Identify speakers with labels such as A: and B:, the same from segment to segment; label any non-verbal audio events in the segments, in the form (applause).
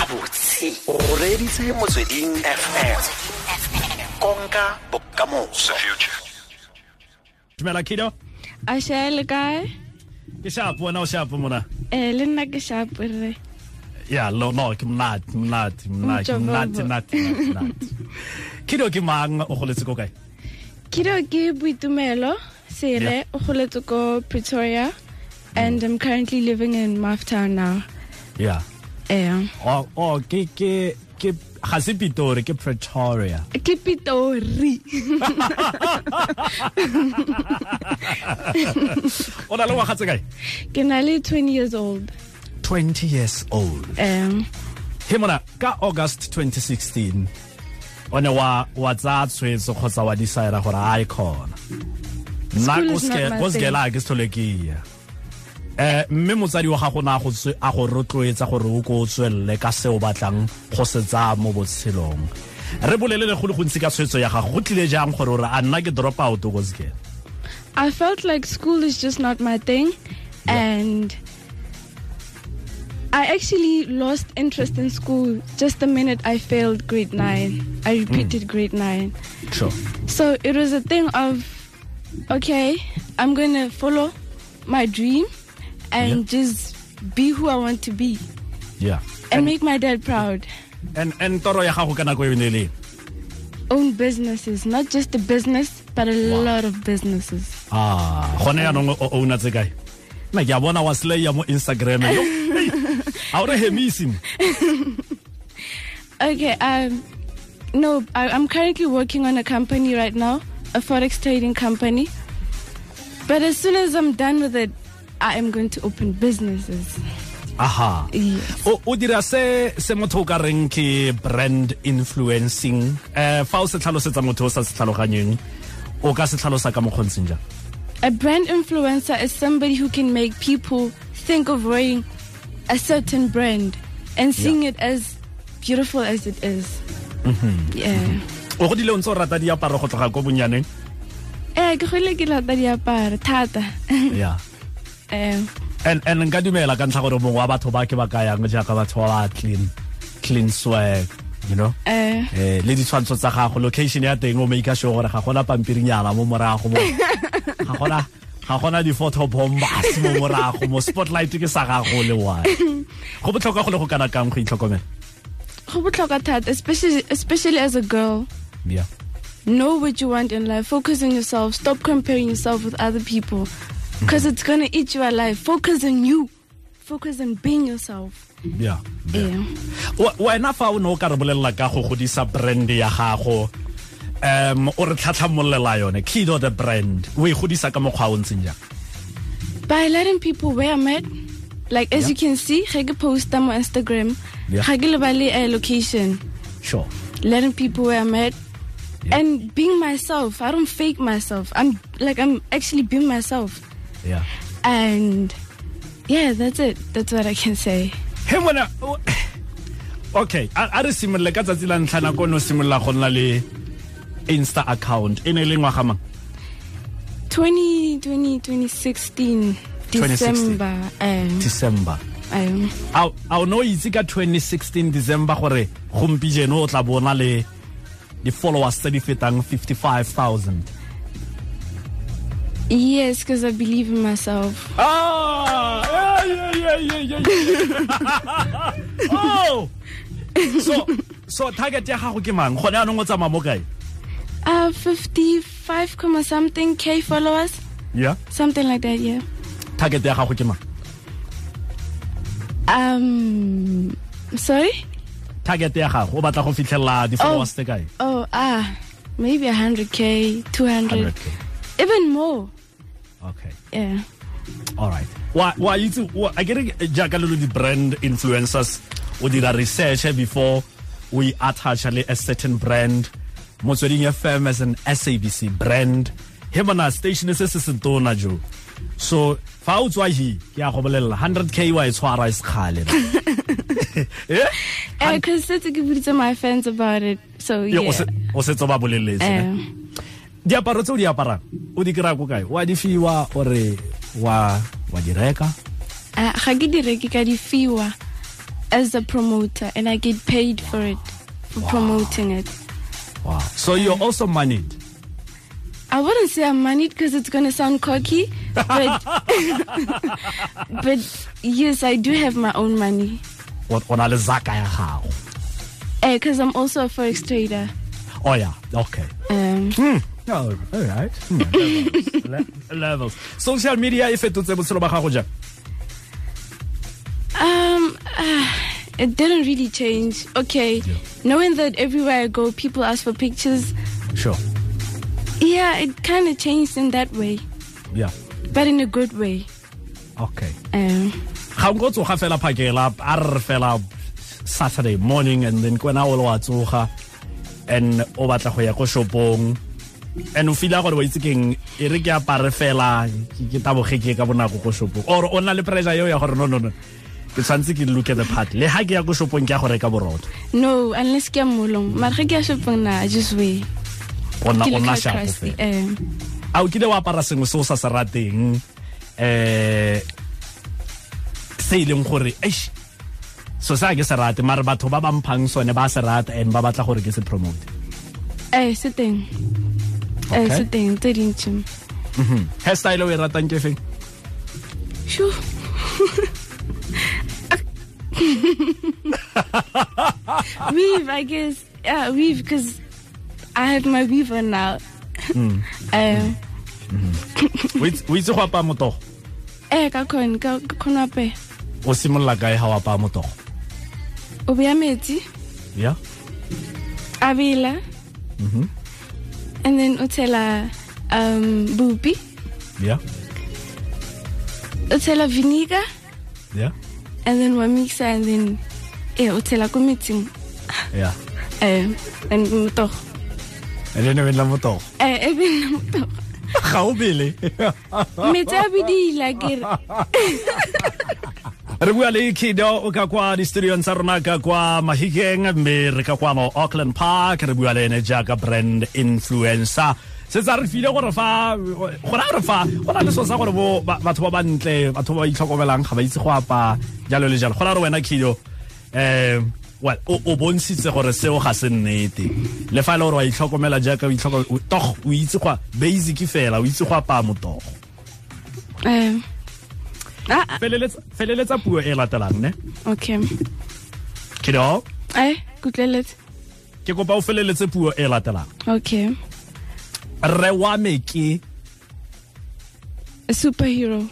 A: tshedimosetso o reditse motsweding fm konka bokamoso
B: dumela kido
C: a share le kae
B: ke sharp wena o sharp mona
C: eh le nna ke sharp re
B: ya lo no ke mnat mnat mnat
C: Mtjobobo.
B: mnat mnat mnat kido ke mang o goletse ko kae
C: kido ke boitumelo
B: Yeah.
C: sere o goletse ko pretoria and i'm currently living in maftown now
B: ya
C: eh
B: o o ke ke ke ga se pitori ke pretoria
C: ke pitori
B: o na le ngwaga tse kae
C: ke na le 20 years old
B: 20 years old
C: eh
B: he mona ka august 2016 o ne wa wa tsa tshwetso kgotsa wa decide gore a e khona
C: School
B: nna o
C: is
B: ske-
C: not my
B: o
C: thing.
B: sekela ke se tlhole ke ya eh mme motsadi wa gago na go tswe- a go rotloetsa gore o ko o tswelele ka se o batlang go se tsa mo botshelong re bolelele go le gontsi ka tshwetso ya gago go tlile jang gore o re a nna ke drop out o ko sekela
C: i felt like school is just not my thing and I actually lost interest in school just the minute I failed grade 9. I repeated grade 9.
B: sure
C: So it was a thing of, okay, I'm going to follow my dream and just be who I want to be
B: yeah
C: and make my dad proud.
B: and and toro ya gago ka nako e ne le eng?
C: Own businesses, not just a business, but a
B: Wow.
C: lot of businesses.
B: ah gone yaanong o ouna tse kae nna ke a bona wa slaya mo instagram Yo, hey, a o re hemisi mo.
C: Okay, um, no, I, I'm currently working on a company right now, a forex trading company. But as soon as I'm done with it, I am going to open businesses.
B: aha
C: Yes.
B: o o dira se se motho o ka reng ke brand influencing eh fa o se tlhalosetsa motho o sa se tlhaloganyeng o ka se tlhalosa ka mokgontseng jang
C: A brand influencer is somebody who can make people think of wearing a certain brand and seeing it as beautiful as it is. Yeah.
B: o godile o ntse o rata diaparo go tloga ko bonyaneng
C: Eh, ke kgwele ke lata diaparo thata. (laughs)
B: yeah
C: Eh,
B: and and nka dumela ka ntlha gore mongwe wa batho ba ke ba kayang jaaka batho ba ba clean clean swag you know
C: eh,
B: eh le ditshwantsho tsa gago location ya teng o make sure gore ga gona pampirinyana mo morago mo ga gona ga gona di-photo bombas mo morago mo spotlight ke sa gago le one go botlhokwa go le go kana kang go itlhokomela
C: go botlhokwa thata, especially especially as a girl.
B: yeah
C: Know what you want in life. Focus on yourself. Stop comparing yourself with other people because it's going to eat you alive. Focus on you. Focus on being yourself.
B: yeah
C: Yeah.
B: Wa- wena fa o ne o ka re bolelela ka go godisa brand ya gago um o re tlhatlhamolela yone kido the brand o e godisa ka mokgwa o ntseng jang
C: by letting people where I'm at. Like as
B: Yeah.
C: you can see, Hege post them on Instagram.
B: Yeah.
C: Hege Bali a location.
B: sure
C: Letting people where I'm at.
B: Yeah.
C: And being myself. I don't fake myself. I'm like I'm actually being myself.
B: yeah
C: And yeah, that's it. That's what I can say.
B: he mona o- okay a a re simolole ka tsatsi la ntlha nako o ne o simolola go nna le insta account e ne e le ngwaga mang
C: 20, 20, 2016 December. Um,
B: december
C: um,
B: a a o ne o itse ka 2016 december gore gompi jeno o tla bona le di-followers tse di fetang 55000
C: yes, because I believe in myself.
B: Ah, yeah, yeah, yeah, yeah, yeah. (laughs) oh so so target ya gago ke mang gone anong o tsamaya mo kae
C: Uh, 55, comma something K followers.
B: yeah
C: Something like that, yeah.
B: target ya gago ke mang
C: Um, sorry?
B: target ya gago o batla go fitlhelela di-followers tse kae
C: Oh, ah, maybe 100k, 200,
B: 100K.
C: even more.
B: okay
C: Yeah.
B: all right wa wa itse wa a kere jaaka le lo di-brand influencers o dira research e before we attach le a certain brand motsweding fm as an sabc brand he bona station se se setona jo so fa o tswa hi ke a go bolelela 100 k wa e tshwara e sekgale (laughs) Eh?
C: Because that's a good to my fans about it. So,
B: Yo,
C: yeah.
B: o se- o setse ba boleletse ne?
C: Um,
B: diaparo tse o di aparang o di kry-a ko kae wa di fiwa ore wa wa di reka
C: ah, uh, ga ke di reke ka di fiwa. as a promoter and I get paid for it, for promoting it.
B: Wow. So you're also moneyed.
C: I wouldn't say I'm moneyed because it's going to sound cocky, but but yes, I do have my own money
B: O o na le zaka ya gago.
C: because I'm also a forex trader.
B: Oh yeah. Okay.
C: Um,
B: Oh, all right. Hmm, (laughs) levels. Le- levels. Social media e fetotse botshelo ba gago jang?
C: um, ah, it didn't really change. Okay, knowing that everywhere I go, people ask for pictures.
B: Sure.
C: Yeah, it kind of changed in that way,
B: Yeah.
C: but in a good way.
B: Okay.
C: Um,
B: ga nko tsoga fela phakela a re re fela saturday morning and then kwena o le wa tsoga and o batla go ya ko shopong and o fila gore wa itse keng e re ke apare fela ke- ke tabogeke ka bonako ko shopong or o nna le pressure eo ya gore no no no ke tshwanetse ke look at the party le ha ke ya ko shopong ke ya go reka borotho
C: no, unless ke molong, mara ge ke ya shopong na I just wait.
B: o nna o
C: Ke look
B: nna
C: how
B: sharp
C: crusty,
B: fela
C: Um,
B: a o kile wa apara sengwe se o sa se rateng eh se e leng gore eish so se a ke se rate mare batho ba ba mphang sone ba se rata and ba batla gore ke se promote
C: eh, se teng. Eh,
B: Okay.
C: se teng, tse dintsi.
B: hairstyle o e ratang ke feng
C: Shoo. (laughs) weave, I guess. Yeah, weave, because I have my weave on now. (laughs) Um,
B: o itse o itse go apaya motogo
C: eh, ka khon, ka ka khon ape.
B: o simolola kae ga o apaya motogo
C: O beya metsi,
B: ya
C: a bela. And then o tshela um, bupi,
B: ya
C: o tshela vinegar,
B: ya
C: and then wa mixer, and then eh, o tshela ko metsing.
B: ya
C: Um, and motogo.
B: and then o bela motogo
C: Eh, e bela motogo.
B: ga o bele
C: Metsi a bidila, kere.
B: re bua le kido o ka kwa di-studion tsa rona ka kwa mahikeng mme re ka kwano auckland park re bua le ene jaaka brand influencer setsa re file gore fa gona re fa go na le so sa gore bo ba- batho ba bantle batho ba ba itlhokomelang ga ba itse go apa jalo le jalo gona re wena kido um well o o bontshitse gore seo ga se nnete le fa e le gore wa itlhokomela jaaka o itlhokomela o- togo o itse go a- basic fela o itse go apaya motogo
C: Um, ah,
B: feleletsa feleletsa puo e latelang ne
C: ah, okay.
B: kido
C: Eh, kutleletse.
B: ke kopa o feleletse puo e latelang
C: Okay.
B: re wa me ke
C: A superhero.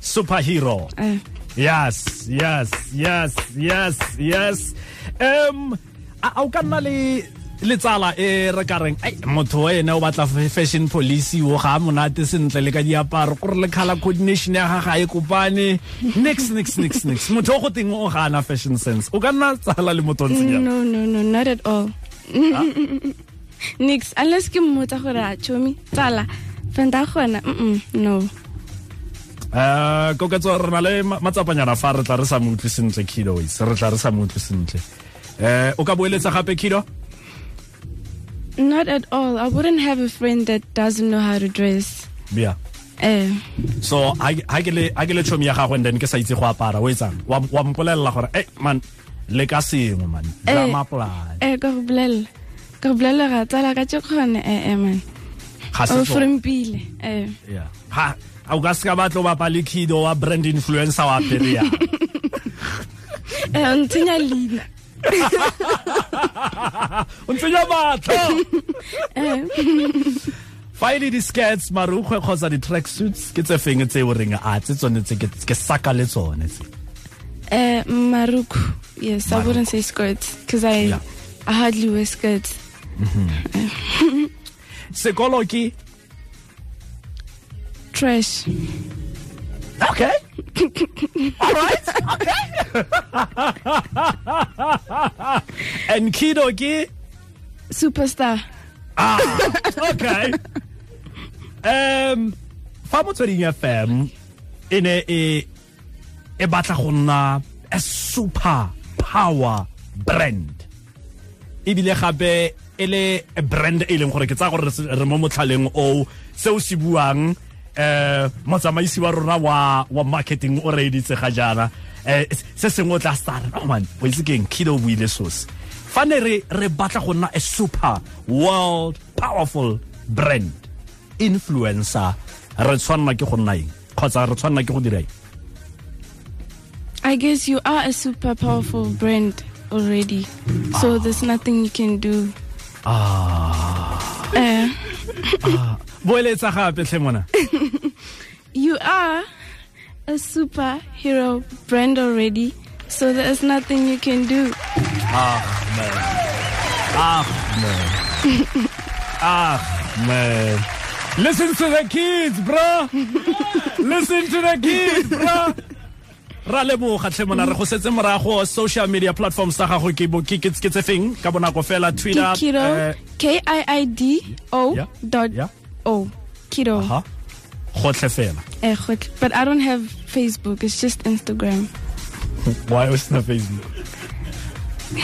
B: superhero
C: Eh,
B: yes yes yes yes yes um a a o ka nna le letsala e re ka reng ai motho wa ene o batla fe- fashion policy o ga a monate sentle le ka diaparo kore le color coordination ya gaga e kopane nix nix nix nix motho o go teng o ga ana fashion sense o ka nna tsala le motho o ntseng jalo
C: no, no, no, not at all. (laughs) Nix, unless ke mmotsa gore a chomi tsala fanta gona mm no
B: um koketso re na le ma- matsapanyana fa re tla re sa mo utlwe sentle kido wais re tla re sa mo utlwe sentle um o ka boeletsa gape kido
C: not at all i wouldn't have a friend that doesn't know how to dress
B: yeah.
C: eh
B: so ha ke- ha ke le- ha ke le tšhomi ya gagwe and then ke sa itse go apara o etsang wa wa mpolelela gore e man le ka sengwe man
C: Eh.
B: jamapolane
C: eh ka go bolela ka go bolela ga tsala ka tshekgone eh eh man
B: ga
C: o
B: se tsona.
C: frempile eh
B: Yeah. ha a o ka seka batlo bapa le kido wa brand influencer wa apereya
C: eh ntsenya leina
B: (laughs) o ntsenya matlho fa e le di-skets marukgwe kgotsa di-track suits ke tse feng tse o reng a tse tsone tse ke ke saka le tsone tse
C: Eh, Maruku. Yes, I
B: Maruku.
C: wouldn't say skirts because I,
B: Yeah.
C: I hardly wear skirts.
B: sekolo ke
C: Trash.
B: okay all right okay and kido ke
C: Superstar.
B: okay um fa motsweding fm e ne e e batla go nna a super power brand ebile gape e le a brand e leng gore ke tsaya gore re se- re mo motlhaleng o se o se buang um motsamaisi wa rona wa wa marketing o reeditse ga jaana Eh, se sengwe o tla stara no man o itse keng kido o buile source fa ne re re batla go nna a super world powerful brand influencer re tshwanela ke go nna eng kgotsa re tshwanela ke go dira eng
C: I guess you are a super powerful brand already.
B: Ah.
C: So there's nothing you can do. Ah.
B: boeletsa gape tlhe mona
C: you are a superhero brand already. So there's nothing you can do.
B: Man. Listen to the kids, bro. Listen to the kids, bro. ra leboga tlhe mona re go setse morago social media platforms tsa gago ke bo ke ke ke tse feng ka bonako fela twitter eh,
C: Kido. K I I D
B: Yeah, Uh-huh.
C: O dot
B: yeah.
C: O. Kido.
B: ha gotlhe fela
C: Eh, goed. But I don't have Facebook. It's just Instagram.
B: why was na facebook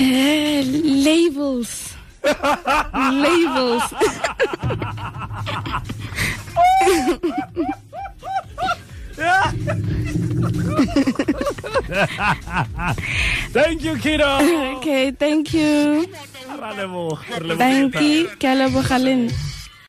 C: Eh, labels. labels.
B: thank you kiddo
C: Okay, thank you.
B: ra leboga re leboga
C: Thank you. Ke a leboga le nna.